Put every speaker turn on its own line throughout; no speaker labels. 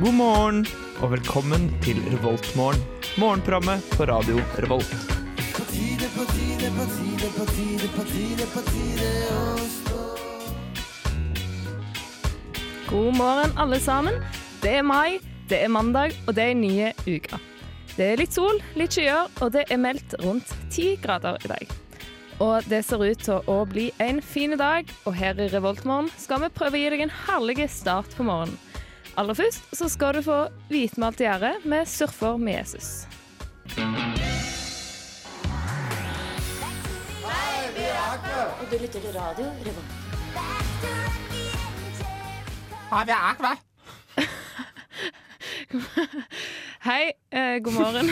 God morgen og velkommen til Revoltmorgen. Morgenprogrammet på radio Revolt.
God morgen, alle sammen. Det er mai, det er mandag, og det er nye uker. Det er litt sol, litt skyer, og det er meldt rundt ti grader i dag. Og det ser ut til å bli en fin dag, og her i Revoltmorgen skal vi prøve å gi deg en herlig start på morgenen. Aller først så skal du få hvitmalt gjerde med 'Surfer med Jesus'.
Du lytter til radio Revolt.
Hei, eh, god morgen.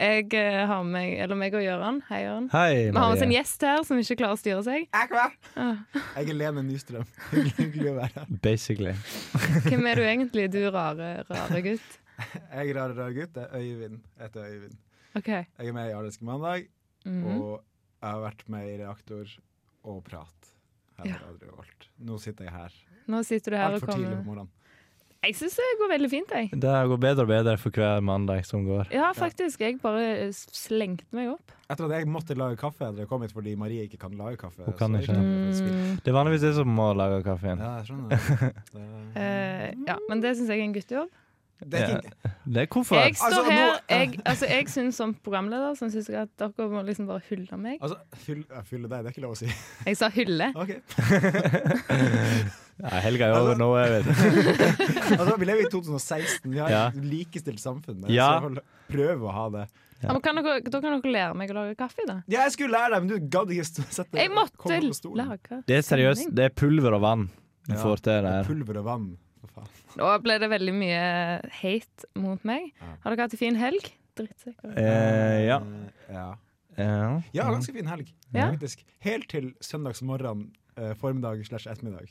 jeg eh, har med meg, eller meg og Gøran. Hei, Gøran.
Hei,
Vi har med oss en gjest her som ikke klarer å styre seg.
Jeg er Lene Nystrøm. Hyggelig å være her.
Basically.
Hvem er du egentlig, du rare, rare gutt?
Jeg er rar, rar gutt. Det er Øyvind. Jeg heter Øyvind.
Ok.
Jeg er med i Ariske mandag,
Mhm.
og jeg har vært med i Reaktor og Prat. Her
Ja.
har jeg aldri valgt. Nå sitter jeg her.
Nå sitter du her og
Altfor tidlig
kommer
på morgenen.
Jeg syns det går veldig fint, jeg.
Det går bedre og bedre for hver mandag som går.
Ja, faktisk. Jeg bare eh, slengte meg opp.
Etter at jeg måtte lage kaffe da jeg kom hit fordi Marie ikke kan lage kaffe.
Hun kan
så jeg
ikke.
kjenner det for et svin.
Det er vanligvis det som må lage kaffen.
Ja, jeg skjønner. Det,
Eh, ja, men det syns jeg er en guttejobb.
det er ikke
Det er hvorfor.
Jeg står
Altså, nå-
her Jeg, altså, jeg syns som programleder så synes jeg at dere må liksom bare hylle meg.
Altså, fyll, jeg fyller deg, det er ikke lov å si.
Jeg sa hylle.
Ok.
Ja, helga er over nå, jeg vet.
Altså, vi lever i 2016, vi har
Ja.
et likestilt samfunn.
Ja.
Så hold- prøv å ha det.
Ja, men kan dere, da kan dere lære meg å lage kaffe, da.
Ja, jeg skulle lære deg, men du gadd ikke st- sette
Jeg måtte
komme på stolen.
lage
Det er seriøst. Det er pulver og vann du
Ja.
får til der.
Pulver og vann. For faen.
Nå ble det veldig mye hate mot meg.
Ja.
Har dere hatt en fin helg? Drittsekker.
Eh, ja.
ja.
Ja.
Ja, ganske fin helg,
Ja.
faktisk. Helt til søndags morgen, eh, formiddag slash ettermiddag.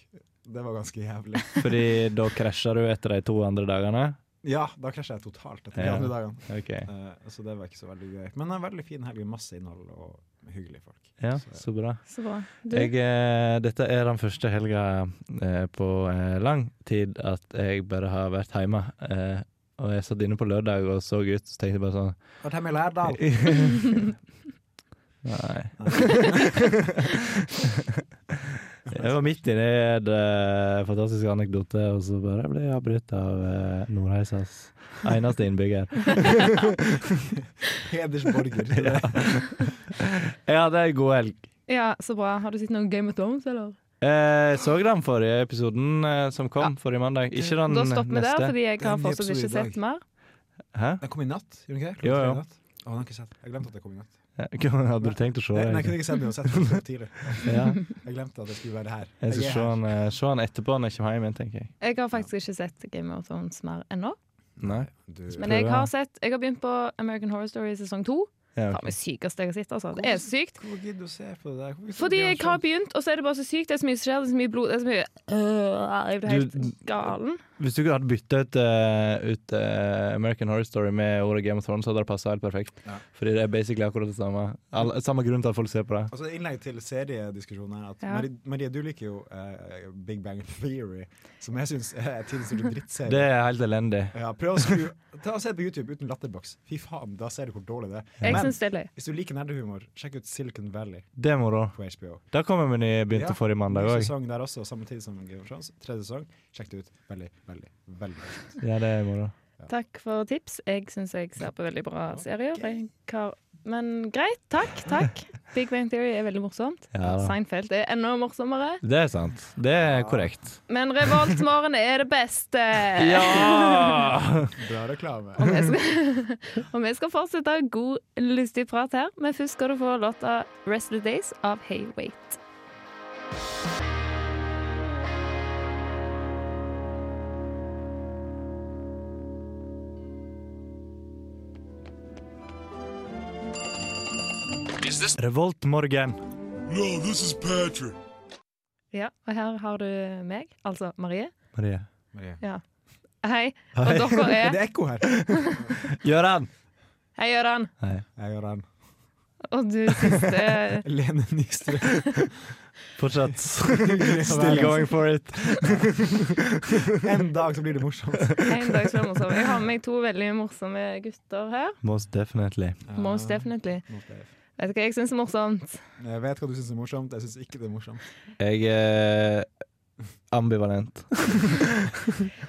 Det var ganske jævlig.
Mm, Fordi da krasjer du etter de to andre dagene.
Ja, da krasja jeg totalt etter de
Ja.
andre dagene.
Ok,
Eh, så det var ikke så veldig gøy. Men en veldig fin helg med masse innhold og hyggelige folk.
ja,
Så,
så bra.
Så bra. Du?
Jeg, eh, dette er den første helga eh, på eh, lang tid at jeg bare har vært hjemme. Eh, og jeg satt inne på lørdag og så ut, så tenkte jeg bare sånn
Vært hjemme i Lærdal.
Nei. Jeg var midt inni en eh, fantastisk anekdote, og så bare ble jeg avbrutt av eh, Nordheisas eneste innbygger.
Hedersborger.
Jeg hadde ei god helg.
Ja, så bra. Har du sett noe Game of Thrones, eller?
Eh, så den forrige episoden eh, som kom forrige mandag. Ikke den
Da stopper vi der,
neste.
fordi jeg
Det er
har
en ny
fortsatt
episode
ikke
i dag.
sett mer.
Hæ?
Den kom i natt, gjorde den ikke det?
Jo,
Klokken tre i
jo.
natt. Å, den har jeg ikke sett. Jeg glemte at det kom i natt.
Ja, Hadde du tenkt å se
Nei, nei, jeg
den?
kunne ikke sett den uansett. for det var tidlig.
Ja.
Jeg glemte at jeg skulle være her.
Jeg skal
er
se den, eh, se den etterpå når jeg kommer hjem igjen, tenker jeg.
Jeg har faktisk ikke sett Game of Thrones mer ennå.
Nei.
Du,
Men jeg har sett Jeg har begynt på American Horror Story sesong to.
Ja,
Faen,
ok.
det sykeste jeg har sett. Altså. Det er så sykt.
Hvorfor gidder du å se på det der? Hvorfor gidder du
Fordi
å
jeg
se
har
på-
begynt, og så er det bare så sykt. Det er så mye som skjer, det er så mye blod, det er så mye øh, Jeg blir helt
Du-
galen.
Hvis du ikke hadde bytta ut, eh, ut eh, American Horror Story med ordet Game of Thrones, så hadde det passa helt perfekt.
Ja.
Fordi det er basically akkurat det samme. All, samme grunn til at folk ser på det.
Altså Innlegg til seriediskusjonen er at
Ja.
Marie, Marie, du liker jo eh, Big Bang Theory, som jeg syns er tidens store drittserie.
Det er helt elendig.
Ja, prøv å skru Ta og Se det på YouTube uten latterboks. Fy faen, da ser du hvor dårlig det er.
Jeg
Men
syns det er løy.
hvis du liker nerdehumor, sjekk ut Silicon Valley
Det er moro.
på HBO.
Da kommer vi ny begynte
Ja,
forrige
Ny
mandag òg.
sesong der også, samtidig som Game of Thrones. Tredje sesong. Sjekk det ut. Veldig, veldig, veldig. morsomt.
Ja, det er moro.
Takk for tips. Jeg syns jeg ser på veldig bra serier. Jeg har- Men greit. Takk. takk Big Bang Theory er veldig morsomt.
Ja da.
Seinfeld er enda morsommere.
Det er sant. Det er korrekt.
Men Revoltmorgen er det beste!
Ja!
Bra reklame.
Og vi skal- Og vi skal fortsette god, lystig prat her, men først skal du få låta 'Rest of the Days' av Hey Wait.
Revoltmorgen.
Ja, og her har du meg, altså Marie.
Marie.
Marie.
Hei. Og dere
Er
er
det ekko her?
Gøran!
Hei, Gøran.
Nei.
Jeg gjør den.
Og du siste
Lene Nystrøm.
Fortsatt.
Still
Still going for it.
En dag så blir det morsomt.
en dag skal jeg morsom. Jeg har med meg to veldig morsomme gutter her.
Most definitely.
Most definitely.
Most def.
Vet du hva jeg syns er morsomt?
Jeg vet hva du syns er morsomt, jeg syns ikke det er morsomt.
Jeg er ambivalent.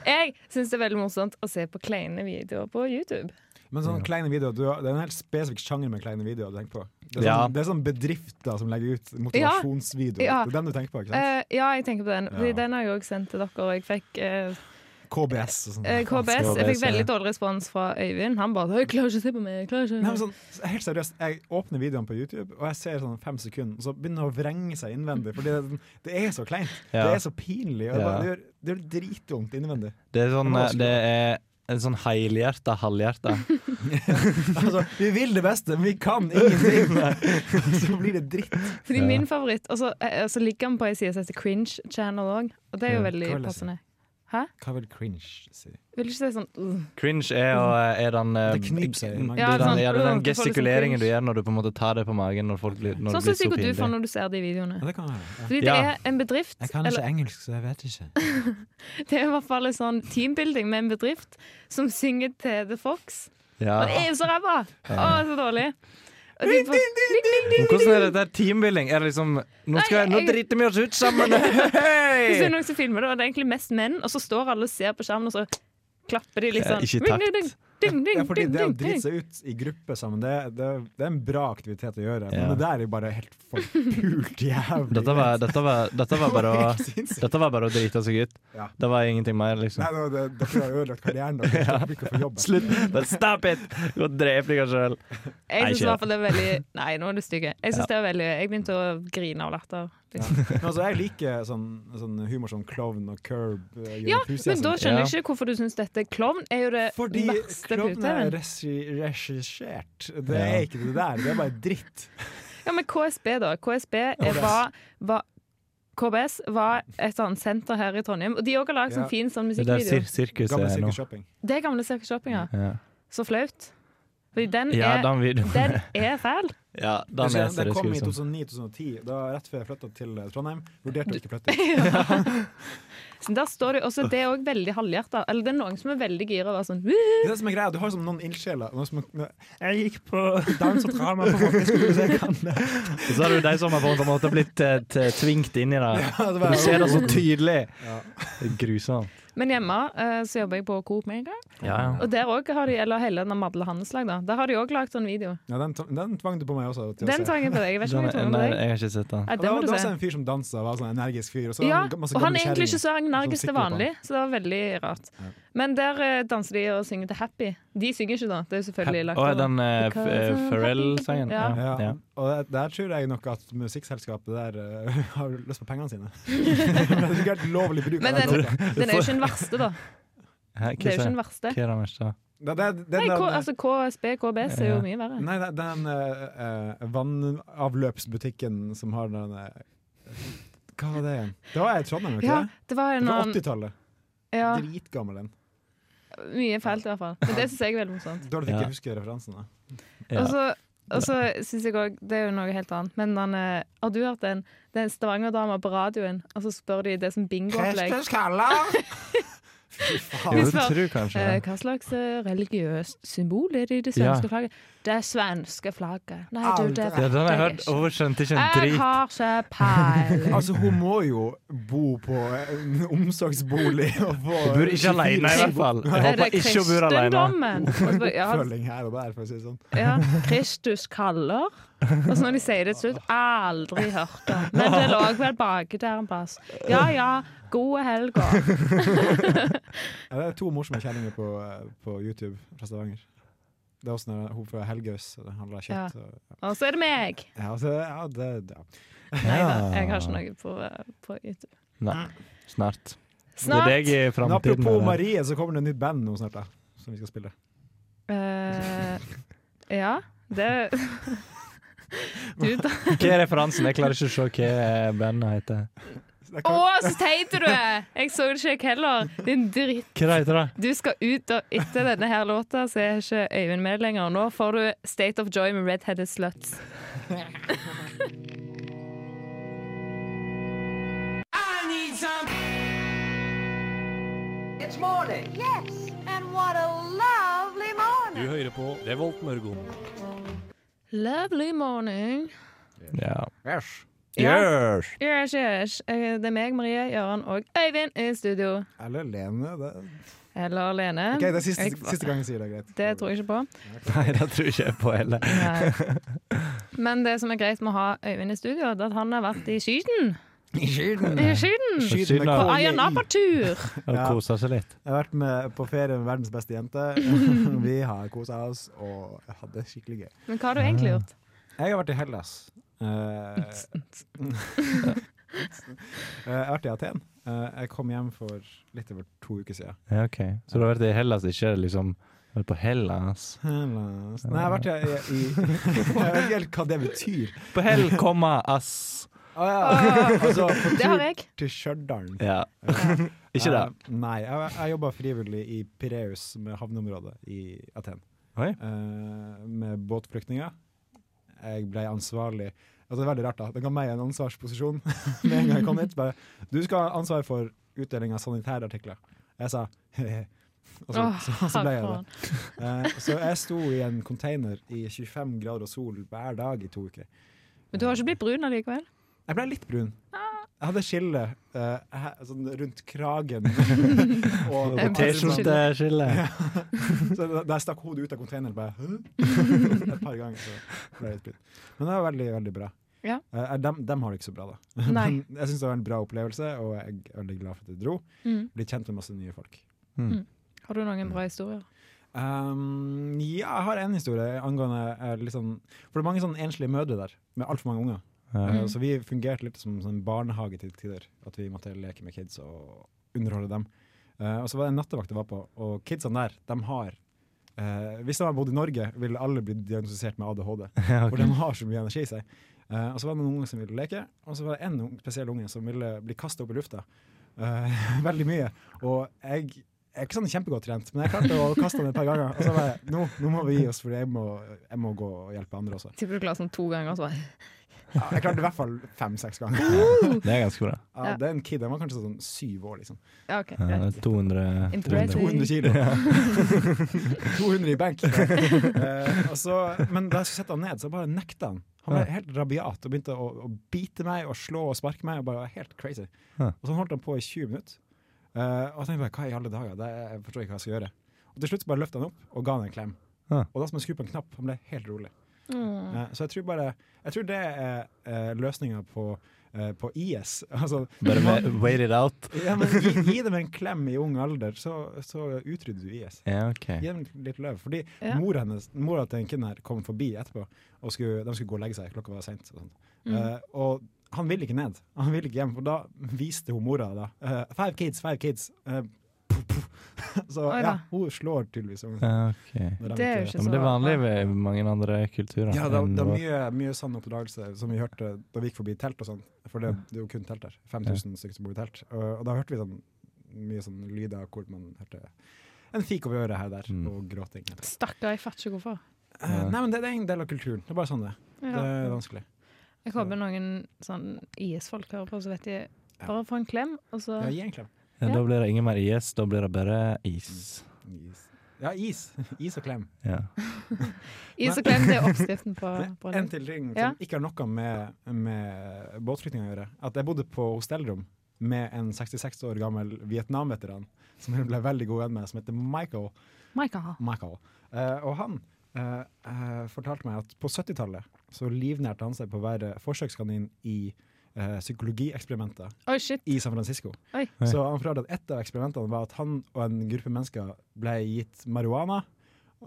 Jeg syns det er veldig morsomt å se på kleine videoer på YouTube.
Men sånne
Ja.
kleine videoer, du, har- det er en helt spesifikk sjanger med kleine videoer du tenker på. Det er, sånn,
Ja.
det er sånn bedrifter som legger ut motivasjonsvideoer.
Ja.
Det er den du tenker på, ikke sant?
Eh, ja, jeg tenker på den. Fordi
Ja.
Den har jeg òg sendt til dere. Og jeg fikk eh,
KBS og sånn.
eh, KBS. Jeg fikk
ja.
veldig dårlig respons fra Øyvind. Han bare 'Jeg klarer ikke å se på meg'. jeg klarer
Nei, men
ikke
sånn, helt seriøst, jeg åpner videoen på YouTube, og jeg ser sånn fem sekunder, og så begynner det å vrenge seg innvendig. For det, er sånn- det er så kleint.
Ja.
Det er så pinlig. Og det,
Ja.
bare, det, gjør, det gjør dritvondt innvendig.
Det er sånn,
Det er vanskelig.
det er en sånn helhjerta, halvhjerta.
Altså, vi vil det beste, men vi kan ingenting. så blir det dritt.
Fordi
Ja.
min favoritt Og så eh, så ligger han på ei side som heter Cringe Channel òg. Og det er jo
Ja.
veldig
Hva vil jeg si?
passende.
Hva vil cringe si?
Vil ikke si sånn «Ugh».
Cringe er, å- er den eh,
Det kniper seg i magen.
Ja, den, ja, det er den
sånn, øh, du får liksom
gestikuleringen du
cringe.
gjør når du på en måte tar det på magen når, folk, blir- når
Sånn
det blir
som
så
sikkert du får
pinlig.
når du ser de videoene.
det kan jeg.
Fordi det
Ja.
er en bedrift eller,
engelsk, så jeg vet ikke.
Det er i hvert fall en sånn teambuilding med en bedrift som synger til The Fox.
Ja.
Og det er jo så ræva! Å, så dårlig. Og de får-
Men Hvordan er dette her teambuilding? Er det liksom Nå, skal,
Nei,
nå
jeg-
driter vi oss ut sammen!
Hvis det
Hei!
er noen som filmer det, og det er egentlig mest menn, og så står alle og ser på skjermen, og så klapper de litt
Ja,
sånn.
ikke i takt.
Ding, ding, ding, ding,
Ja, fordi
ding,
det å
ding, ding.
drite seg ut i gruppe sammen, det, det, det er en bra aktivitet å gjøre.
Ja.
Men det der er bare helt forpult jævlig.
Dette var, dette, var, dette, var bare å, dette var bare å drite seg ut.
Ja.
Det var ingenting mer, liksom.
Nei, nå, det, dere har ødelagt karrieren deres. Dere blir ikke å få jobb.
Slutt! Bare stop it! Gå og drep deg sjøl.
Jeg
Nei,
synes
ikke
i hvert fall det er veldig Nei, nå er du stygg. Jeg synes
Ja.
det er veldig Jeg begynte å grine av latter.
Ja.
liksom.
Men altså, jeg liker sånn, sånn humor som Klovn og Curb. eh, Jørgen
Ja,
Pusia
men
og
da
sånn.
skjønner jeg ikke hvorfor du syns dette. Klovn er jo det
fordi
verste
Klovn er
puteven.
regi- regissert. Det
Ja.
er ikke det der, det er bare dritt.
Ja, men KSB, da. KSB er,
KBS.
var, var KBS var et sånt senter her i Trondheim, og de òg har lagd
Ja.
sånn fin sånn
Det der
musikkvideo.
sir sirkuset
Gamle
er nå.
sirkusshopping.
Det er gamle Circus Shopping, ja.
Ja.
Så flaut. Fordi den
ja,
er,
den videoen.
den er fæl.
Ja, den er
Det kom i
sirkuset.
2009-2010, da rett før jeg flytta til eh, Trondheim. Vurderte å ikke flytte.
Så der står det jo også Det er òg veldig halvhjerta. Eller det er noen som er veldig gira og bare sånn «Woo!»
Det er det som er greia, Du har som noen ildsjeler. Noen som, jeg gikk på dans og drama på folkeskole, så jeg kan det.
Og så er det jo de som har på en måte blitt eh, t- tvingt inn i det.
Ja, det
Du
var-
ser altså- det så tydelig!
Ja.
Det er grusomt.
Men hjemme eh, så jobber jeg på Coop Mega,
Ja, ja.
og der òg har de Eller hele den Madle Handelslag, da. Der har de òg lagd sånn video.
Ja, den, t- den tvang du på meg også. Til
Den
å se.
tar jeg på deg. Jeg vet ikke om
Den
jeg
er,
tar den på
nei,
deg.
jeg har ikke sett
Ja,
den.
Og det
den
var,
må
det
du
var
se.
også en fyr som dansa, var sånn energisk fyr. Og så
Ja,
ga- masse
og han
gamle
er egentlig
kjerringer.
ikke så energisk til
sikter på han.
vanlig, så det var veldig rart.
Ja.
Men der eh, danser de og synger til Happy. De synger ikke, da. Det er jo selvfølgelig lagt
Å, er
over.
den eh, F- eh,
sånn
Pharrell-sangen?
Ja.
Ja.
ja.
Og der, der tror jeg nok at musikkselskapet der eh, har lyst på pengene sine. det er sikkert lovlig bruk. av
Men
den
den-
låta.
Den er jo ikke den verste, da. Det
Hæ,
er
Hva
jo ikke
sa jeg?
den verste.
Hva er den verste?
Det- det- den
Nei,
der-
K, altså KSB, KBS er jo mye verre.
Nei, det- den eh, eh, vannavløpsbutikken som har den eh, Hva var det igjen? Det var i Trondheim, ikke
Ja,
det?
det var en
Det var
annen
80-tallet.
ja,
Dritgammel den.
Mye fælt, i hvert fall. Men det syns jeg er veldig morsomt.
Dårlig at jeg
Ja.
ikke husker referansen. da.
Ja.
Og så- Og så syns jeg òg Det er jo noe helt annet, men han eh, Har du hørt den? Det er en Stavanger-dame på radioen, og så spør de det som bingoopplegg.
Fy
Jo,
faen.
Hvis
det
man-
tror jeg kanskje
Eh,
det.
hva slags eh, religiøst symbol er det i det
Ja.
svenske flagget? Det svenske flagget. Nei, du, det
Aldri.
Ja, den har jeg hørt.
ikke.
og jeg skjønte ikke en
Jeg
drit.
har ikke peiling.
Altså, hun må jo bo på en omsorgsbolig og få
Hun bor ikke alene, i hvert fall. Jeg
Er det
håper ikke hun bor alene.
kristendommen? Og så bare, Ja,
Oppfølging her og der, for å si det sånn.
ja, Kristus kaller. Og så når de sier det til slutt Aldri hørt det. Men det lå vel baki der en plass. Ja ja, gode helga.
Ja, det er to morsomme kjerringer på, eh, på YouTube fra Stavanger. Det er også når hun fra Helgaus og det handler kjøtt. og-
Og så er det meg.
Ja, altså, ja, det, ja.
Nei da, jeg har ikke noe på, eh, på YouTube.
Nei, snart. Det er
Snart.
deg i
Men
framtiden. eh.
apropos Marie, så kommer det et nytt band nå snart, da. Som vi skal spille.
eh, ja, det Du, da.
Hva er referansen? Jeg klarer ikke å se hva bandet heter.
Det
Å,
kan-
så teit du er! Jeg så det ikke jeg heller. Din dritt.
Hva heter det?
Du skal ut og etter denne her låta, så er ikke Øyvind med lenger. Nå får du State of Joy med Redheaded Sluts.
Du hører på Revolt Mørgon.
Lovely morning.
Ja.
Yes. Yes, yes. Eh, Det er meg, Marie, Gøran og Øyvind i studio.
Eller Lene. Det,
Eller Lene.
Ok, det er siste,
Jeg-
siste gang jeg sier det. Greit.
Det tror jeg ikke på.
Nei, det tror jeg ikke jeg på heller.
Nei. Men det som er greit med å ha Øyvind i studio, er at han har vært i Syden. I Syden!
Skyten med
På
På
KJI.
Ayanapatur!
Og
Ja.
koser seg litt.
Jeg har vært med på ferie med verdens beste jente. Vi har kosa oss og hatt det skikkelig gøy.
Men hva har du egentlig gjort?
Jeg har vært i Hellas. Eh, eh, jeg har vært i Aten. Eh, jeg kom hjem for litt over to uker siden.
Ja, ok. Så du har vært i Hellas, ikke liksom vært på Hellas?
Hellas Nei, jeg har vært i, i, i Jeg vet ikke helt hva det betyr.
På hell, komma, ass!
Å ja. altså, på
Ah. Det har
tur
jeg.
til Stjørdal.
Ja. Ikke det?
Eh, nei, jeg, jeg jobba frivillig i Pireus, med havneområdet i Aten.
Oi.
Eh, med båtflyktninger. Jeg ble ansvarlig altså, Det er veldig rart, da. Det ga meg en ansvarsposisjon med en gang jeg kom hit. Bare, du skal ha ansvar for utdeling av sanitære artikler. Jeg sa he-he. Og så,
Åh,
så, så Sånn- ble jeg det.
faen.
Eh, så jeg sto i en container i 25 grader og sol hver dag i to uker.
Men du har ikke blitt brun allikevel?
Jeg ble litt brun.
Ah.
Jeg hadde skille eh, he- sånn rundt kragen. og,
En
T-skjorteskille.
så da da jeg stakk hodet ut av containeren, bare «Hæ?» Et par ganger. Så ble jeg litt brun. Men det var veldig, veldig bra.
Ja.
Eh, dem, dem har det ikke så bra, da.
Nei.
Men jeg syns det var en bra opplevelse, og jeg er veldig glad for at jeg dro.
Mm.
Blir kjent med masse nye folk.
Har du noen bra historier?
Um, ja, jeg har en historie angående eh, litt sånn For det er mange sånn enslige mødre der, med altfor mange unger. Eh, Så vi fungerte litt som en barnehage til tider. At vi måtte leke med kids og underholde dem. Eh, og så var det en nattevakt jeg var på, og kidsene der, de har eh, Hvis de hadde bodd i Norge, ville alle blitt diagnostisert med ADHD. For de har så mye energi i seg. Eh, og så var det noen unger som ville leke, og så var det en ung- spesiell unge som ville bli kasta opp i lufta. Eh, veldig mye. Og jeg jeg er ikke sånn kjempegodt trent, men jeg klarte å kaste den et par ganger. Og så var jeg, nå, nå må vi gi oss, for jeg må, jeg må gå og hjelpe andre også.
Tipper du klarer sånn to ganger, så bare
Ja, Jeg klarte det i hvert fall fem-seks ganger.
Det er ganske bra.
Ja, det er en kid, han var kanskje sånn syv år, liksom.
Ja, OK.
Ja,
Greit.
det er 200
Impressive.
200 kilo. 200 i benk. Eh, og så- men da jeg skulle sette han ned, så bare nekta han. Han ble helt rabiat og begynte å, å bite meg og slå og sparke meg. Og bare var helt crazy.
Ja.
Og sånn holdt han på i 20 minutter. Eh, og jeg tenkte bare, hva i alle dager, det, jeg forstår ikke hva jeg skal gjøre. Og til slutt så bare løfta han opp og ga han en klem.
Ja.
Og da som jeg skru på en knapp, han ble helt rolig.
Mm.
Eh, så jeg tror bare, jeg tror det er uh, løsninga på, eh, på IS. Altså,
Bare ve- wait it out.
ja, men gi, gi dem en klem i ung alder, så, så utrydder du IS.
Ja, ok.
Gi dem litt løv. Fordi
Ja.
mora, hennes, mora til den kiden her kom forbi etterpå, og skulle, de skulle gå og legge seg. Klokka var seint. Og, sånn.
Mm.
Eh, og han ville ikke ned. Han ville ikke hjem, for da viste hun mora da. eh, five kids, five kids. eh, puff, puff. så
Oi da.
ja, hun slår tydeligvis ungen sin.
Ja, ok.
når de
Det er jo
ikke-
Ja, men det er vanlig
så
ved mange andre kulturer.
Ja, det,
enn
det er
vår.
mye, mye sann oppdragelse, som vi hørte da vi gikk forbi telt og sånn. For det, det er jo kun telt der. 5000 stykker som bor i telt. Og, og da hørte vi sånn, mye sånn lyder hvor man hørte en fik over øret her og der,
Mm.
og gråting.
Eh, Stakkar, jeg fatter ikke hvorfor.
Eh, nei, men det, det er en del av kulturen. Det er bare sånn det. Det er
Ja.
vanskelig.
Jeg håper noen sånn IS-folk hører på, så vet de Bare få en klem, og så
Ja, gi en klem.
Ja, da blir det ingen mer is, da blir det bare is.
Mm. Is. Ja, is. Is og klem.
Ja.
Is og klem, det er oppskriften på
Men
på
En
det.
til ting som
Ja.
ikke har noe med, med båtflyktninger å gjøre. At jeg bodde på hostellrom med en 66 år gammel Vietnam-veteran som jeg ble veldig god venn med, som heter Michael.
Michael.
Michael. Eh, og han eh, eh, fortalte meg at på 70-tallet så livnærte han seg på å være forsøkskanin i eh, psykologieksperimenter
Oi, shit.
i San Francisco.
Oi.
Så han fortalte at et av eksperimentene var at han og en gruppe mennesker ble gitt marihuana.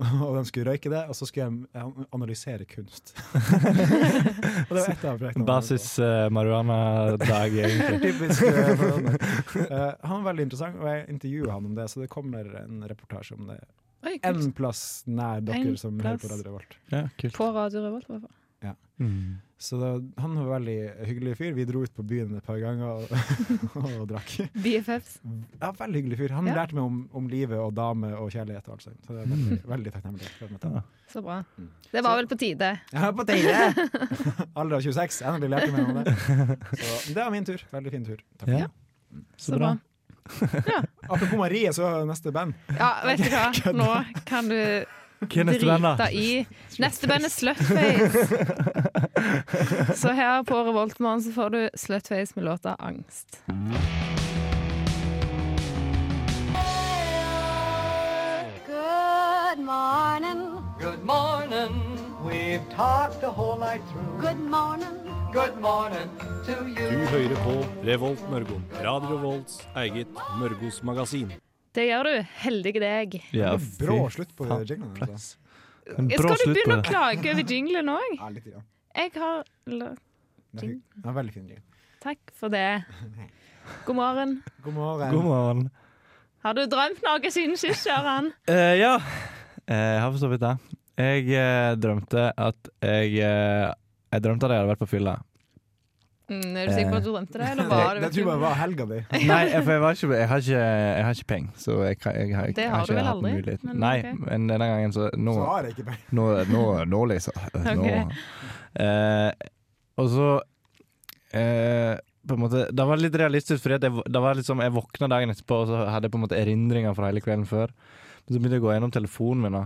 Og de skulle røyke det, og så skulle de an- analysere kunst. og det var et av prosjektene. han var på.
Basis eh, marihuana-dag, egentlig.
Typisk eh, forhånd. Eh, Han var veldig interessant, og jeg intervjua han om det, så det kommer en reportasje om det
Oi, kult.
en plass nær dere
En
som
plass.
hører på Radio Revolt.
Ja, kult.
På Radio Revolt, i hvert fall.
Mm.
Så da, han var en veldig hyggelig fyr. Vi dro ut på byen et par ganger og, og drakk.
BFFs.
Ja, veldig hyggelig fyr. Han
Ja.
lærte meg om, om livet og dame og kjærlighet og alt sånt. Så det er veldig, veldig takknemlig for at jeg møtte han.
Så bra. Det var vel på tide.
Jeg er på tide! Alder av 26, endelig lærte jeg meg om det. Så det var min tur. Veldig fin tur. Takk.
Ja.
Ja.
Så
Så
bra.
bra.
Apropos Marie, så er neste band.
Ja, vet du hva? Nå kan du
Hva er neste band, da?
drite i Neste band er Slutface. Så her på Revoltmorgen så får du Slutface med låta Angst.
Good morning.
Good morning. We've talked the whole night through.
Good morning.
Good morning to
Du
you.
hører på Revolt Mørgon. Radio Revolts eget Mørgos magasin.
Det gjør du. Heldige deg.
Ja,
Det var brå slutt på
faen,
jinglen, altså.
Flaks. En brå
Skal du
slutt på
begynne å
det.
klage over jinglen òg?
Ja, litt, ja.
Jeg har l-
Det er hy- det var veldig fin jingle.
Takk for det. God morgen.
God morgen.
God morgen.
Har du drømt noe siden sist, Kjøran?
Eh, ja, Eh, jeg har for så vidt det. Jeg eh, drømte at jeg eh, Jeg drømte at jeg hadde vært på fylla.
Mm, er du sikker på at du drømte det, eller var
Det
det
tror jeg bare var helga di.
Nei, jeg- for jeg, var ikke, jeg, har ikke, jeg har ikke penger, så jeg, kan- jeg, har- jeg,
Det har du
ikke
vel
hatt
aldri,
mulighet.
men
Nei,
ok.
men denne gangen så Nå,
Så har jeg ikke peiling.
nå, nå, nå liksom. Nå.
Ok.
Eh, og så eh, på en måte, Det var litt realistisk, fordi at jeg, det var liksom, jeg våkna dagen etterpå og så hadde jeg på en måte erindringer fra hele kvelden før. Men så begynte jeg å gå gjennom telefonen min, da.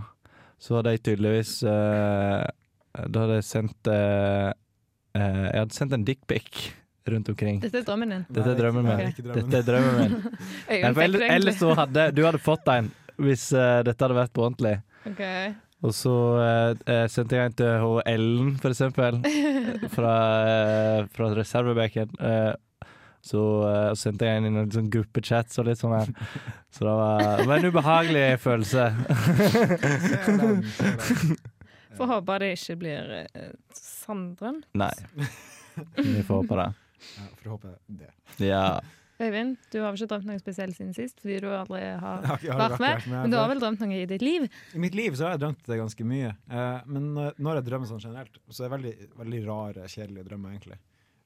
Så hadde jeg tydeligvis eh, Da hadde jeg sendt eh, eh, Jeg hadde sendt en dickpic rundt omkring.
Dette er drømmen din.
Dette er drømmen
Nei,
min.
ikke drømmen.
Dette er drømmen min. Nei,
Øyunn
for
fikk
ellers,
det
ellers
egentlig.
så hadde du hadde fått en hvis eh, dette hadde vært på ordentlig.
Ok.
Og så eh, eh, sendte jeg en til hun Ellen, for eksempel, eh, fra, eh, fra reservebenken. Eh, så eh, sendte jeg inn i noen sånn gruppechats og litt sånn her. Så det var, det var en ubehagelig følelse.
Ser den, ser den.
Får håpe det ikke blir eh, sanndrøm.
Nei. Vi får håpe det.
Ja, for å håpe det.
Ja.
Øyvind, du har vel ikke drømt noe spesielt siden sist, fordi du aldri har
Jeg har
vært
akkurat
med. Men
altså.
du har vel drømt noe i ditt liv?
I mitt liv så har jeg drømt det ganske mye. Eh, men eh, når jeg drømmer sånn generelt, så er det veldig, veldig rare, kjedelige drømmer, egentlig.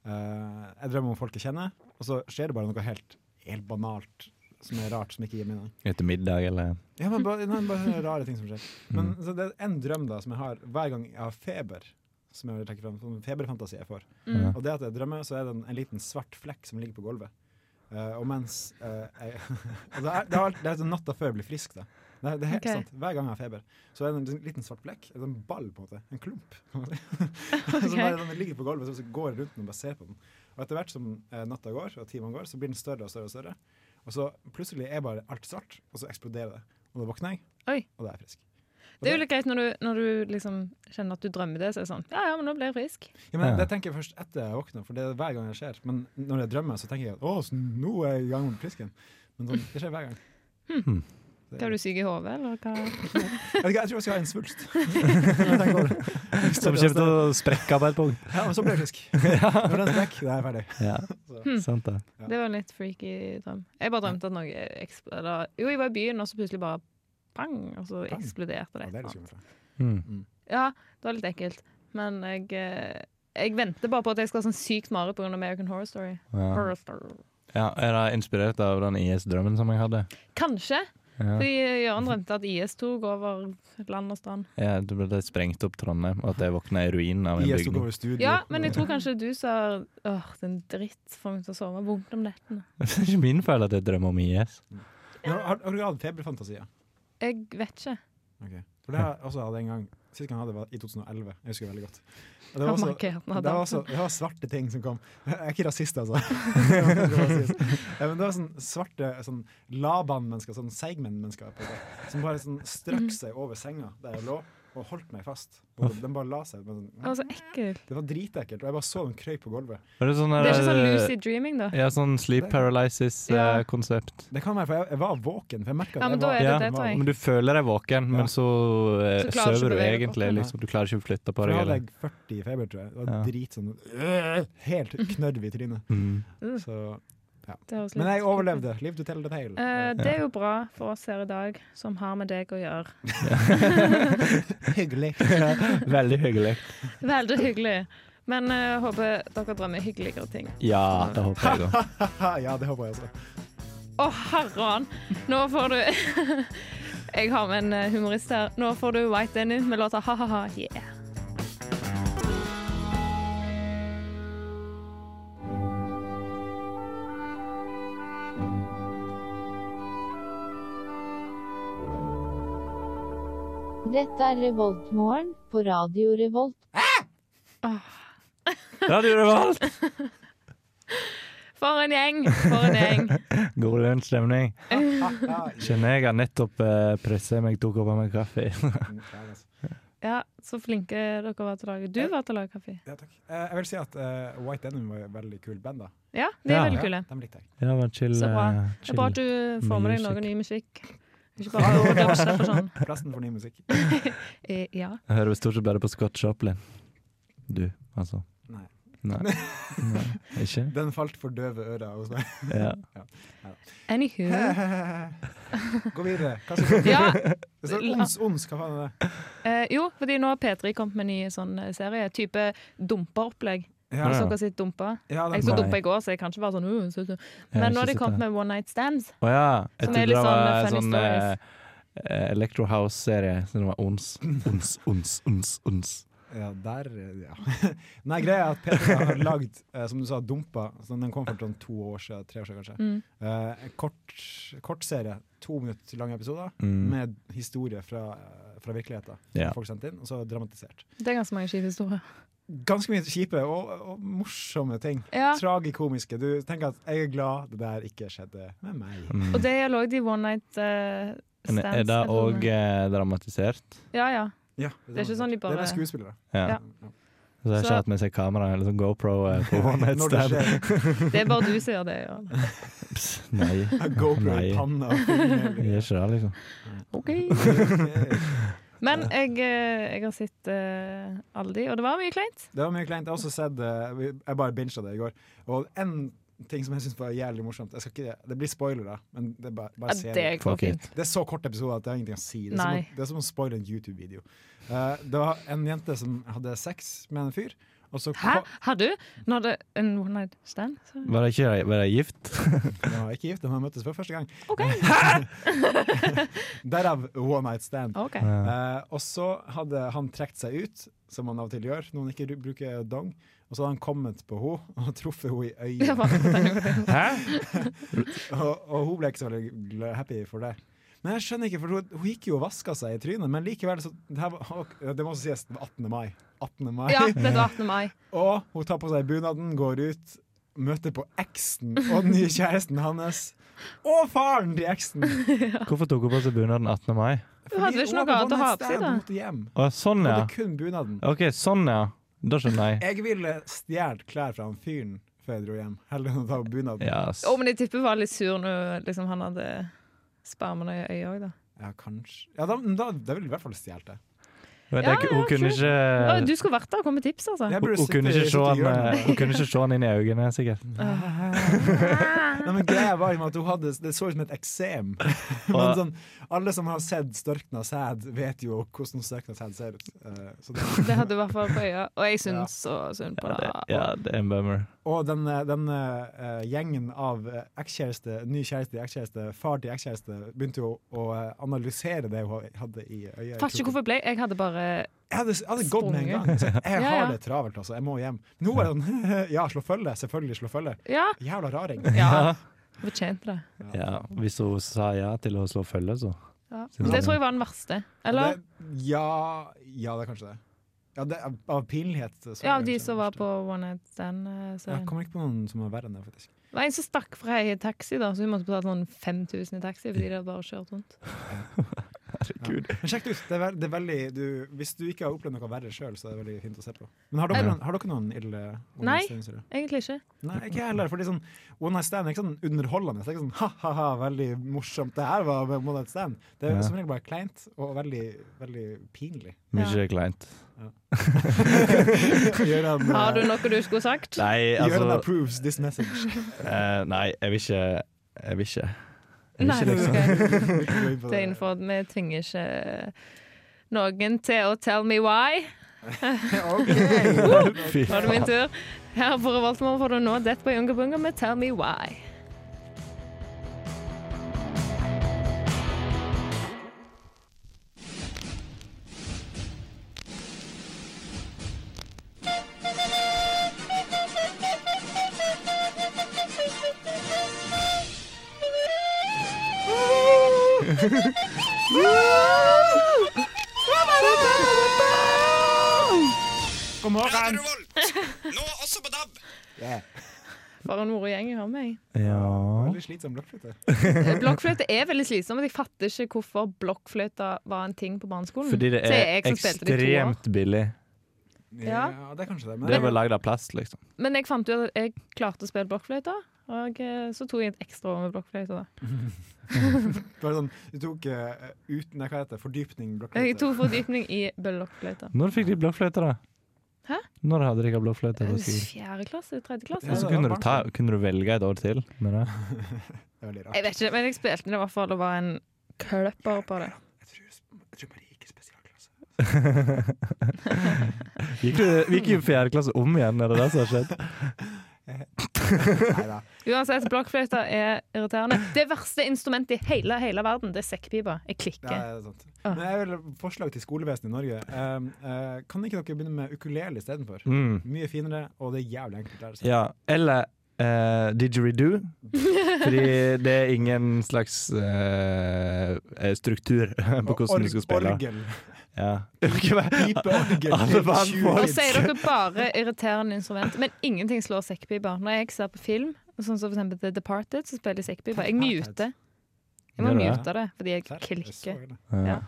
Eh, jeg drømmer om folk jeg kjenner, og så skjer det bare noe helt, helt banalt som er rart, som ikke gir mening.
Etter middag, eller
Ja, men bare, nei, bare sånne rare ting som skjer. Men så det er en drøm da som jeg har hver gang jeg har feber, som jeg vil trekke fram, sånn feberfantasi jeg får.
Mm.
Og det at jeg drømmer, så er det en, en liten svart flekk som ligger på gulvet. Eh, og mens eh, jeg, og det, er, det, er, alt- det er sånn natta før jeg blir frisk, da. Det er, det er helt
Ok.
sant. Hver gang jeg har feber, så er det en sånn liten svart flekk. En sånn ball, på en måte. En klump. kan man si.
Ok.
Som bare sånn, den ligger på gulvet, så- så går jeg rundt den og bare ser på den. Og etter hvert som eh, natta går, og timene går, så blir den større og større og større. Og så plutselig er bare alt svart, og så eksploderer det. Og da våkner jeg,
Oi.
og da er jeg frisk.
Det er jo litt greit når du, når du liksom kjenner at du drømmer det, så er det sånn Ja ja, men nå blir jeg frisk.
Ja, men
Ja.
Det tenker jeg først etter jeg våkner, for det er hver gang det skjer. Men når jeg drømmer, så tenker jeg at å, så nå er jeg i gang med frisken. Men sånn, det skjer hver gang.
Hva er Hmm. du syk i hodet, eller hva?
Jeg, vet ikke, jeg tror jeg skal ha en svulst. Når jeg tenker over det.
Som kommer til å sprekke på et punkt.
Ja, men så blir jeg frisk. Når den er vekk, da er jeg ferdig.
Ja, sant det.
Det var en litt freaky drøm. Jeg bare drømte at noe eksploder... Jo, jeg var i byen, og så plutselig bare pang, og så
Pang?
eksploderte
Ja,
det.
det er
et
litt
eller annet.
skummelt. da.
Mm.
Ja, det var litt ekkelt. Men jeg, eh, jeg venter bare på at jeg skal ha sånn sykt mare pga. American Horror Story.
Ja.
Horror Story.
ja, Er det inspirert av den IS-drømmen som jeg hadde?
Kanskje.
Ja.
Fordi Jørgen drømte at IS tok over land og strand.
Ja, det ble det sprengt opp Trondheim, og at jeg våkna i ruinen av en
IS tok
bygning.
over studio.
Ja, men jeg tror kanskje du sa Åh, den dritt får meg til å sove vondt om nettene.
Det er ikke min feil at jeg drømmer om IS.
Men Har, har du hatt feberfantasier?
Jeg vet ikke.
Ok. For det har jeg også hatt en gang. Sist gang jeg hadde var i 2011. Jeg husker det veldig godt. Og det
Hva
var også-
markerte den
Det var,
hadde.
så, det var svarte ting som kom. Jeg er ikke rasist, altså. Jeg er ikke rasist. Ja, Men det var sånn svarte sånn laban-mennesker, sånn seigmenn-mennesker, på en måte, som bare sånn strakk
Mhm.
seg over senga der jeg lå, og holdt meg fast. Og de- de bare la seg. Men sånn,
Det var så ekkel.
det var dritekkelt, og jeg bare så dem krøy på gulvet.
Er det, sånn,
Det er ikke sånn
eh,
lucid dreaming, da.
Ja, sånn sleep eh,
Ja.
paralysis-konsept.
Det kan være, for jeg, jeg var våken, for jeg merket at
Ja, men
jeg
da
var
er det
Ja,
det, tror jeg.
Men du føler deg våken,
Ja.
men så, eh,
Så klarer du ikke å
sover du
bevege
egentlig.
kroppen,
Liksom. Du klarer ikke å flytte på
For da
deg.
hadde
Eller.
jeg 40 i feber, tror jeg. Det var
Ja.
Mhm.
drit sånn øh, Helt knørv i trynet.
Mm.
Så Ja.
Det høres
Men
litt
jeg overlevde. Live to tell the tale.
Eh, det er jo bra for oss her i dag, som har med deg å gjøre.
Hyggelig.
Veldig hyggelig.
Veldig hyggelig. Men eh, håper dere drømmer hyggeligere ting.
Ja, det håper jeg òg.
ja, det håper jeg også.
Å, herran! Nå får du Jeg har med en eh, humorist her. Nå får du White Denny med låta Ha-ha-ha, yeah.
Dette er Revoltmorgen på Radio Revolt.
Radio Revolt!
For en gjeng! For en gjeng.
God lunsjstemning. Kjenner jeg har nettopp eh, presset meg to kopper med kaffe.
Mm, altså-
Ja, så flinke dere var til å lage. Du var til å lage kaffe.
Ja, takk. Eh, jeg vil si at eh, White Denim var et veldig kult band. da
Ja, de er
Ja.
veldig kule.
Ja, dem likte jeg.
Ja, men chill.
Så bra.
eh,
Det er bra at
chill.
du får med deg
Music.
noe ny musikk. Ikke bare overdubstep og sånn.
Plassen for ny musikk.
Eh, ja.
Jeg hører vel stort sett bare på Scott Chaplin. Du, altså.
Nei.
Nei. Nei. Ikke?
Den falt for døve ører hos meg.
Ja.
Anywho.
Gå videre. Hva som skjer?
Ja,
Det står ons, ons, hva faen er det?
eh, jo, fordi nå har P3 kommet med en ny sånn eh, serie. Type dumperopplegg.
Ja,
Har
Ja.
dere sett dumpa?
ja, den-
Jeg så
Nei.
dumpa i går, så jeg kan ikke være sånn uh, så, så. Men
ikke
nå har de
sett
kommet
det.
med One Night Stands.
Å ja. Jeg
Som er
trodde
litt
det var
sånn
en sånn
funny
eh, eh, Electro House-serie. Så det var ons. Ons, ons, ons, ons.
Ja, der ja. Nei, greia er at Peter har lagd, eh, som du sa, Dumpa. Så den kom for sånn to år siden, tre år siden kanskje.
Mm.
Eh, en kort, kort serie, to minutter lange episoder,
Mm.
med historier fra, eh, fra virkeligheten.
Ja.
som Folk sendte inn, og så dramatisert.
Det er ganske mange kjipe historier.
Ganske mye kjipe og, og morsomme ting.
Ja,
Tragikomiske. Du tenker at jeg er glad det der ikke skjedde med meg.
Mm.
og det gjelder òg de One Night eh,
Men
Stands.
er det òg
episodene.
eh, dramatisert?
Ja, ja.
Ja,
Det er ikke sånn de bare-
Det er med skuespillere.
Ja.
Ja.
Så jeg har
Så-
ikke hatt med seg kamera eller sånn GoPro eh, på One Night
Når det
Stand.
skjer.
Det er bare du som gjør det. Ja.
Pss, Nei.
GoPro i
Nei.
panna.
Jeg gjør ikke det, liksom.
Men jeg, eh, jeg har sett eh, alle de, og det var mye kleint.
Det var mye kleint. Jeg har også sett eh, vi- Jeg bare bincha det i går. Og en ting som jeg syns var jævlig morsomt jeg skal ikke, Det blir spoilere, men det er bare, bare
Ja,
se
det
det.
går
Fuck
fint.
it.
Det er så kort episode at det har ingenting å si. Det er, som
Nei.
å, det er som å spoile en YouTube-video. Eh, det var en jente som hadde sex med en fyr, og så
Hæ?
ko-
Har du? Nå er det en One Night Stand? Så-
Var det ikke var det gift?
De var ikke gift, de hadde møttes for første gang.
OK.
Derav One Night Stand.
ok.
Eh, og så hadde han trukket seg ut, som han av og til gjør når han ikke ru- bruker dong. Og så hadde han kommet på henne og truffet henne i øyet.
Det var
Hæ?
Og, og hun ble ikke så veldig gl- happy for det. Men jeg skjønner ikke, for hun, hun gikk jo og vaska seg i trynet, men likevel så Det, her var, det må også sies det var 18. mai. 18. mai.
Ja, det var 18. mai.
Og hun tar på seg bunaden, går ut, møter på eksen og den nye kjæresten hans. Og faren til eksen!
Hvorfor tok hun på seg bunaden 18. mai?
Fordi
hadde vel ikke
hun
noe
hadde
annet å ha på
one night
seg,
stand,
da?
hun måtte hjem.
Å, sånn,
Hun
ja.
hadde kun bunaden.
OK, sånn, ja. Da skjønner jeg.
Jeg ville stjålet klær fra han fyren før jeg dro hjem, heller enn å ta på bunaden.
Ja, ass.
Å, men jeg tipper hun var litt sur når liksom, han hadde spermene i øyet òg, da.
Ja, kanskje. Ja, da, da, da ville jeg i hvert fall stjålet det.
Men
Ja,
det, hun
ja,
kunne
true.
ikke
Å, du skulle vært der og kommet med tips, altså.
Jeg
Hun,
burde
hun, kunne ikke
sitte-
se
sitte i
han,
hjørnet.
eh, hun kunne ikke se han inn i øynene, sikkert. eh,
Nei, men greia var jo at hun hadde Det så ut som et eksem. Men sånn, alle som har sett størkna sæd, vet jo hvordan størkna sæd ser ut. Eh, så det-
Det hadde du i hvert fall på øya, og jeg syns så synd på
Ja,
det.
det, ja, det er en bummer.
og den, eh, den eh, gjengen av eh, ekskjæreste, ny kjæreste, ekskjæreste, far til ekskjæreste, begynte jo å eh, analysere det hun hadde i øya. i
Fatter ikke
kroken.
hvorfor jeg ble Jeg hadde bare
Jeg hadde, jeg hadde gått med en
Sprunget.
gang. Så jeg
Ja,
har
ja.
det travelt, altså. Jeg må hjem. Men hun var sånn Ja, slå følge. Selvfølgelig slå følge.
Ja.
Jævla raring.
ja. Fortjente det.
Ja, hvis hun sa ja til å slå følge, så.
Ja.
Syns
Det
jeg.
tror jeg var den verste. Eller?
Det, ja, ja, det er kanskje det. Ja, det er av pinlighet. så er det
Ja, av de
kanskje
som
det
var
verste.
på One Night Stand. eh, så-
Jeg kommer ikke på noen som er verre enn det, faktisk.
Det var en som stakk fra ei taxi, da, så hun måtte betale sånn 5000 i taxi fordi de hadde bare kjørt rundt.
Herregud.
Men sjekk det ut. Det er, vel- det er veldig, du, hvis du ikke har opplevd noe verre sjøl, så er det veldig fint å se på. Men har dere,
Ja.
noen, har dere noen ille one
Nei.
night stands?
Egentlig ikke.
Nei, ikke jeg heller. Fordi sånn, one night stand er ikke sånn underholdende. Det er ikke sånn ha-ha-ha, veldig morsomt. Det her var one night stand. Det er
Ja.
som regel bare kleint og veldig, veldig pinlig.
Mye kleint.
Gjøran,
altså-
eh,
Har du noe du skulle sagt?
Nei,
Gjøran
altså
approves this message.
eh, Nei, jeg vil ikke Jeg vil ikke.
Nei,
ikke liksom.
ok.
Gå inn på
det er innenfor. Vi tvinger ikke eh, noen til å tell me why.
Ok.
Fy
Nå er det min tur. Her på Revoltmorgen får du nå Death by Unga Bunga med Tell Me Why.
God morgen!
For en moro gjeng jeg har med.
Ja
Veldig slitsom blokkflytte.
jeg. Blokkfløyte er veldig slitsomt. Jeg fatter ikke hvorfor blokkfløyta var en ting på barneskolen.
Fordi det
Så
er
Mm. jeg som spilte det i to år.
ekstremt billig.
Ja.
det er kanskje det.
Det er vel
Men
lagd av plast, liksom.
Men jeg fant ut at jeg klarte å spille blokkfløyte, og eh, så tok jeg et ekstra år med blokkfløyte. da.
bare sånn, du tok eh, uten, nei, hva heter det, fordypning
Jeg
blokkflytte.
tok fordypning i blokkfløyte.
Når fikk de blåfløyte, da?
Hæ?
Når hadde de ikke blåfløyte? på skolen?
Fjerde klasse? Tredje
Og
klasse?
så kunne du, ta, kunne du velge et år til med det.
Det er veldig rart.
Jeg vet ikke, men jeg spilte det i hvert fall. Det var en kløpper på det.
Jeg tror, jeg tror Marie gikk i spesialklasse.
Gikk du gikk i fjerde klasse om igjen, er det det som har skjedd?
Neida.
Uansett, blokkfløyta er irriterende. Det verste instrumentet i hele, hele verden, det er sekkpipa. Jeg
Ja, det
klikker.
er sant.
Ah.
Men jeg vil forslag til skolevesenet i Norge. Um, eh, kan ikke dere begynne med ukulele istedenfor?
Mm.
Mye finere, og det er jævlig enkelt å lære seg.
Ja, eller eh, didgeridoo. Fordi det er ingen slags eh, eh, struktur på hvordan du skal spille.
Orgel.
Ja. Alle
Pipeorgel.
barn
Nå
får
sier dere bare irriterende instrument, men ingenting slår sekkpipa. Når jeg ser på film, sånn som for eksempel The Departed, så spiller de sekkpipa. Jeg muter. Jeg må
Gjør du det?
mute det, fordi jeg klikker.
Ja.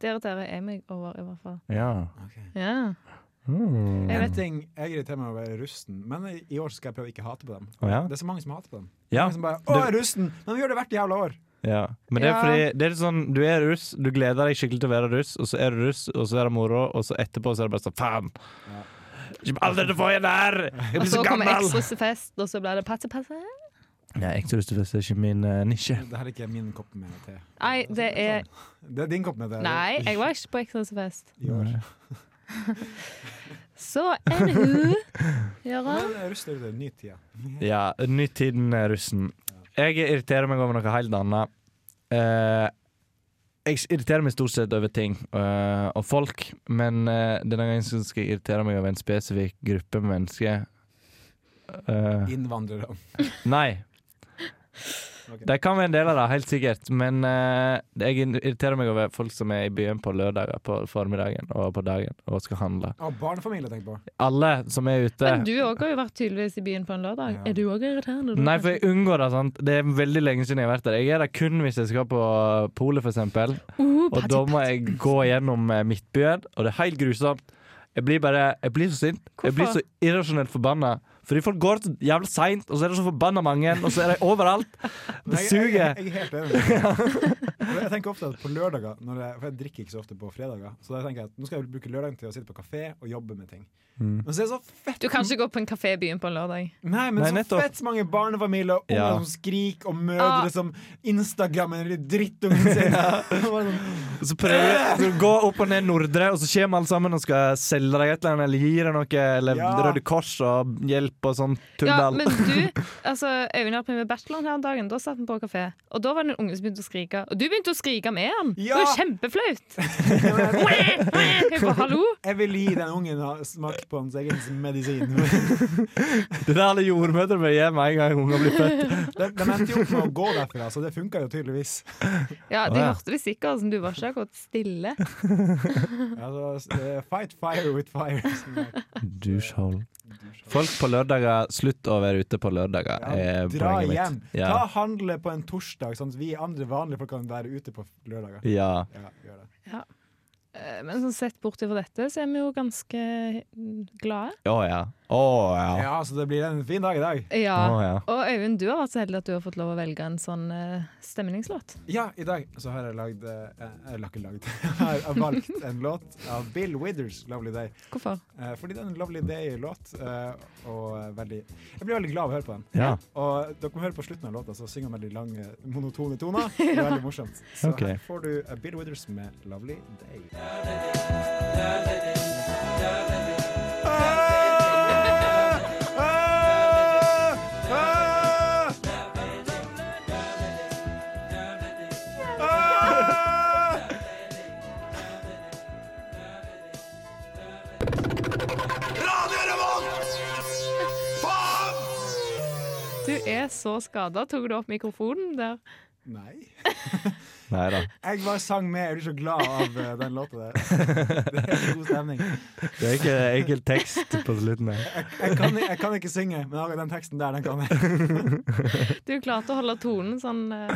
Det irriterer jeg meg over, i hvert fall.
Eh, ja.
Ja.
Mm.
Jeg
En
vet
ting jeg irriterer meg over, er rusten. Men i i år skal jeg prøve å ikke hate på dem.
Å, ja.
Det er så mange som hater på dem.
ja.
Mange som bare, Å, jeg er rusten! Men vi gjør det hvert jævla år.
ja. Men det er
Ja.
fordi det er litt sånn, du er russ, du gleder deg skikkelig til å være russ, og så er du russ, og så er det moro, og så etterpå så er det bare sånn faen! Ikke Aldri til å få igjen det her! Jeg
Og
blir
så
så
kommer
gammel!
ekstrasefest, og så blir det passe-passe.
Nei, ekstrarustefest er ikke min eh, nisje.
Det her er ikke min kopp med te.
Nei, det er
Det er din kopp med te.
Nei, jeg var ikke på ekstrasefest.
I år.
Så anywho, Gøran.
Men rust er jo en ny tida.
Ja, nytt tiden er russen. Jeg irriterer meg over noe helt annet. Eh, jeg irriterer meg stort sett over ting eh, og folk, men eh, denne gangen så skal jeg irritere meg over en spesifikk gruppe med mennesker. Eh,
Innvandrere.
nei.
Ok.
De kan være en del av det, helt sikkert, men eh, jeg irriterer meg over folk som er i byen på lørdager på formiddagen og på dagen og skal handle.
Å, barnefamilie, tenk på.
Alle som er ute
Men du òg har jo vært tydeligvis i byen på en lørdag.
Ja.
Er du òg irriterende? da,
Nei,
kanskje?
for jeg unngår det. sant Det er veldig lenge siden jeg har vært der. Jeg er der kun hvis jeg skal på polet, f.eks.
Uh,
Og da må jeg gå gjennom eh, Midtbyen, og det er helt grusomt. Jeg blir bare Jeg blir så sint. Jeg blir så
Hvorfor?
irrasjonelt forbanna. Fordi folk går så jævla seint, og så er det så forbanna mange, og så er de overalt. Det suger.
Jeg, jeg, jeg er helt enig. med deg. Jeg tenker ofte at på lørdager, når jeg, for jeg drikker ikke så ofte på fredager, så da tenker jeg at nå skal jeg bruke lørdagen til å sitte på kafé og jobbe med ting.
Mm.
Men så er det så fett
Du kan ikke gå på en kafé i byen på en lørdag.
Nei, men
Nei,
så
nettopp.
fett mange barnefamilier og unger
Ja.
som skriker, og mødre
Ah.
som Instagram eller drittungen sin. Bare sånn,
Så prøver jeg så gå opp og ned Nordre, og så kommer alle sammen og skal selge deg et eller annet, eller gi deg noe, eller
Ja.
Røde Kors og hjelp og sånn
Ja,
tullball.
men du, altså Øyvind hjalp meg med bacheloren her en dagen. Da satt vi på kafé. Og da var det en unge som begynte å skrike. Og du begynte å skrike med han!
Ja.
Det var jo kjempeflaut! Jeg bare, Hallo?
Jeg vil gi den ungen ha smakt på hans egen medisin.
Det er det alle jordmødre bør gjøre med en gang unger blir født.
De, de endte jo opp med å gå derfra, så det funka jo tydeligvis.
Ja, de
Å, ja.
hørte det sikkert, som du var ikke akkurat stille.
Altså, eh, fight fire with fire. som jeg-
Douchehole. Folk på lørdager, slutt å være ute på lørdager,
Ja,
er
dra
poenget
hjem.
mitt. Ja.
Ta handle på en torsdag, sånn at vi andre vanlige folk kan være ute på lørdager.
Ja.
Ja, gjør
Eh, Men sånn sett bort ifra dette, så er vi jo ganske mm, glade.
Å ja. Å ja.
Ja, så det blir en fin dag i dag.
Ja.
Å, ja.
Og Øyvind, du har vært så heldig at du har fått lov å velge en sånn eh, stemningslåt.
Ja, i dag så har jeg lagd eh, Eller ikke lagd. Jeg har valgt en låt av Bill Withers, 'Lovely Day'.
Hvorfor?
Eh, fordi det er en Lovely Day-låt, eh, og eh, veldig Jeg blir veldig glad av å høre på den.
ja.
Og dere må høre på slutten av låta, så synger han veldig lange, monotone toner. Det er veldig morsomt. Så
Ok.
her får du eh, Bill Withers med 'Lovely Day'.
Du er så skada. Tok du opp mikrofonen der?
Nei.
Nei da.
Jeg bare sang med. Jeg blir så glad av eh, den låta der. Det er god stemning.
Det er ikke enkel tekst på slutten her.
Jeg kan, jeg kan ikke synge, men akkurat den teksten der, den kan jeg.
Du klarte å holde tonen sånn eh,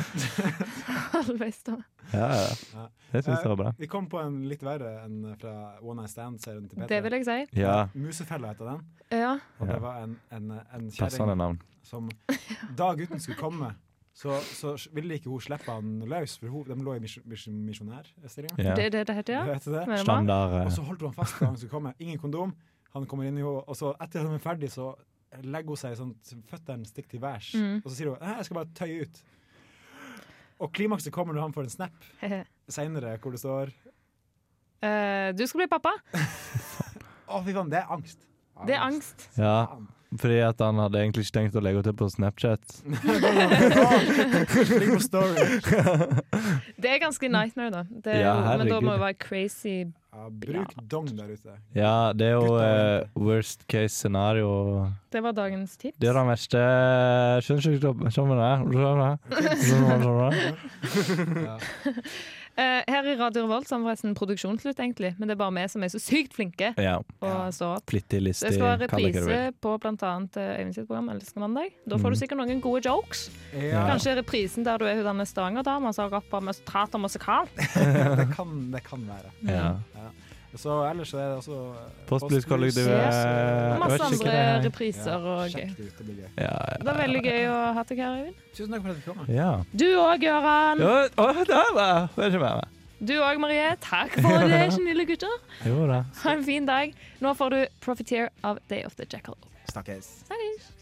halvveis. da.
Ja, ja. Det syns jeg var bra.
Vi kom på en litt verre enn fra One Night Stand-serien til
Det vil
Peter.
jeg si.
Ja.
Musefella heter den.
Ja.
Og
Ja.
det var en, en, en
Passende
kjerring
navn.
som Da gutten skulle komme, så, så ville ikke hun slippe han løs, for hun, de lå i misjon- misjon- misjonærstillinga.
Ja.
Det er det det heter, ja?
Vet du det?
Mener du?
Standard
Og
eh,
så holdt hun han fast da han skulle komme. Ingen kondom. Han kommer inn i henne, og så etter at de er ferdig, så legger hun seg sånn at føttene stikker til værs.
Mm.
Og så sier hun «Nei, 'jeg skal bare tøye ut'. Og klimakset kommer når han får en snap seinere hvor det står
Eh, du skal bli pappa.
Å, fy faen, det er angst.
Det er angst.
Ja. Fordi at han hadde egentlig ikke tenkt å legge til på Snapchat.
Ligg på story.
Det er ganske nightmare, da. Det er,
Ja,
jo- men da må
herregud.
det være crazy.
Ja, bruk dong der ute.
Ja, det er jo
Gutta,
eh, worst case scenario.
Det var dagens tips.
Det er den verste Skjønner ikke hva- skjønner du det? Skjønner du det? Skjønner du det?
Eh, her i Radio Revolt så har vi forresten produksjonsslutt, egentlig. Men det er bare vi som er så sykt flinke
Ja.
og står opp.
Flittig, listig,
Det skal være
kall det hva du vil.
reprise på bl.a. Øyvind sitt program 'Elsker mandag'. Da
Mm.
får du sikkert noen gode jokes.
Ja,
Kanskje reprisen der du er hun denne Stavanger-dama som har rappa med prat om musikal.
det kan, det kan være.
Ja.
Så ellers er det altså eh,
Postblues-kollektivet. Jeg
Yes.
vet
Masse
ikke hva det
andre
er.
repriser og gøy.
Sjekk det ut, det blir gøy.
Ja,
Det var veldig gøy å ha deg her, Øyvind.
Tusen takk for at du kom.
ja.
Du òg, Gøran.
Jo, å, der var det er ikke mer.
Du òg, Marie. Takk for det, snille gutter.
Jo da.
Ha en fin dag. Nå får du 'Profiteer' av Day of the Jackal.
Snakkes.
Snakkes.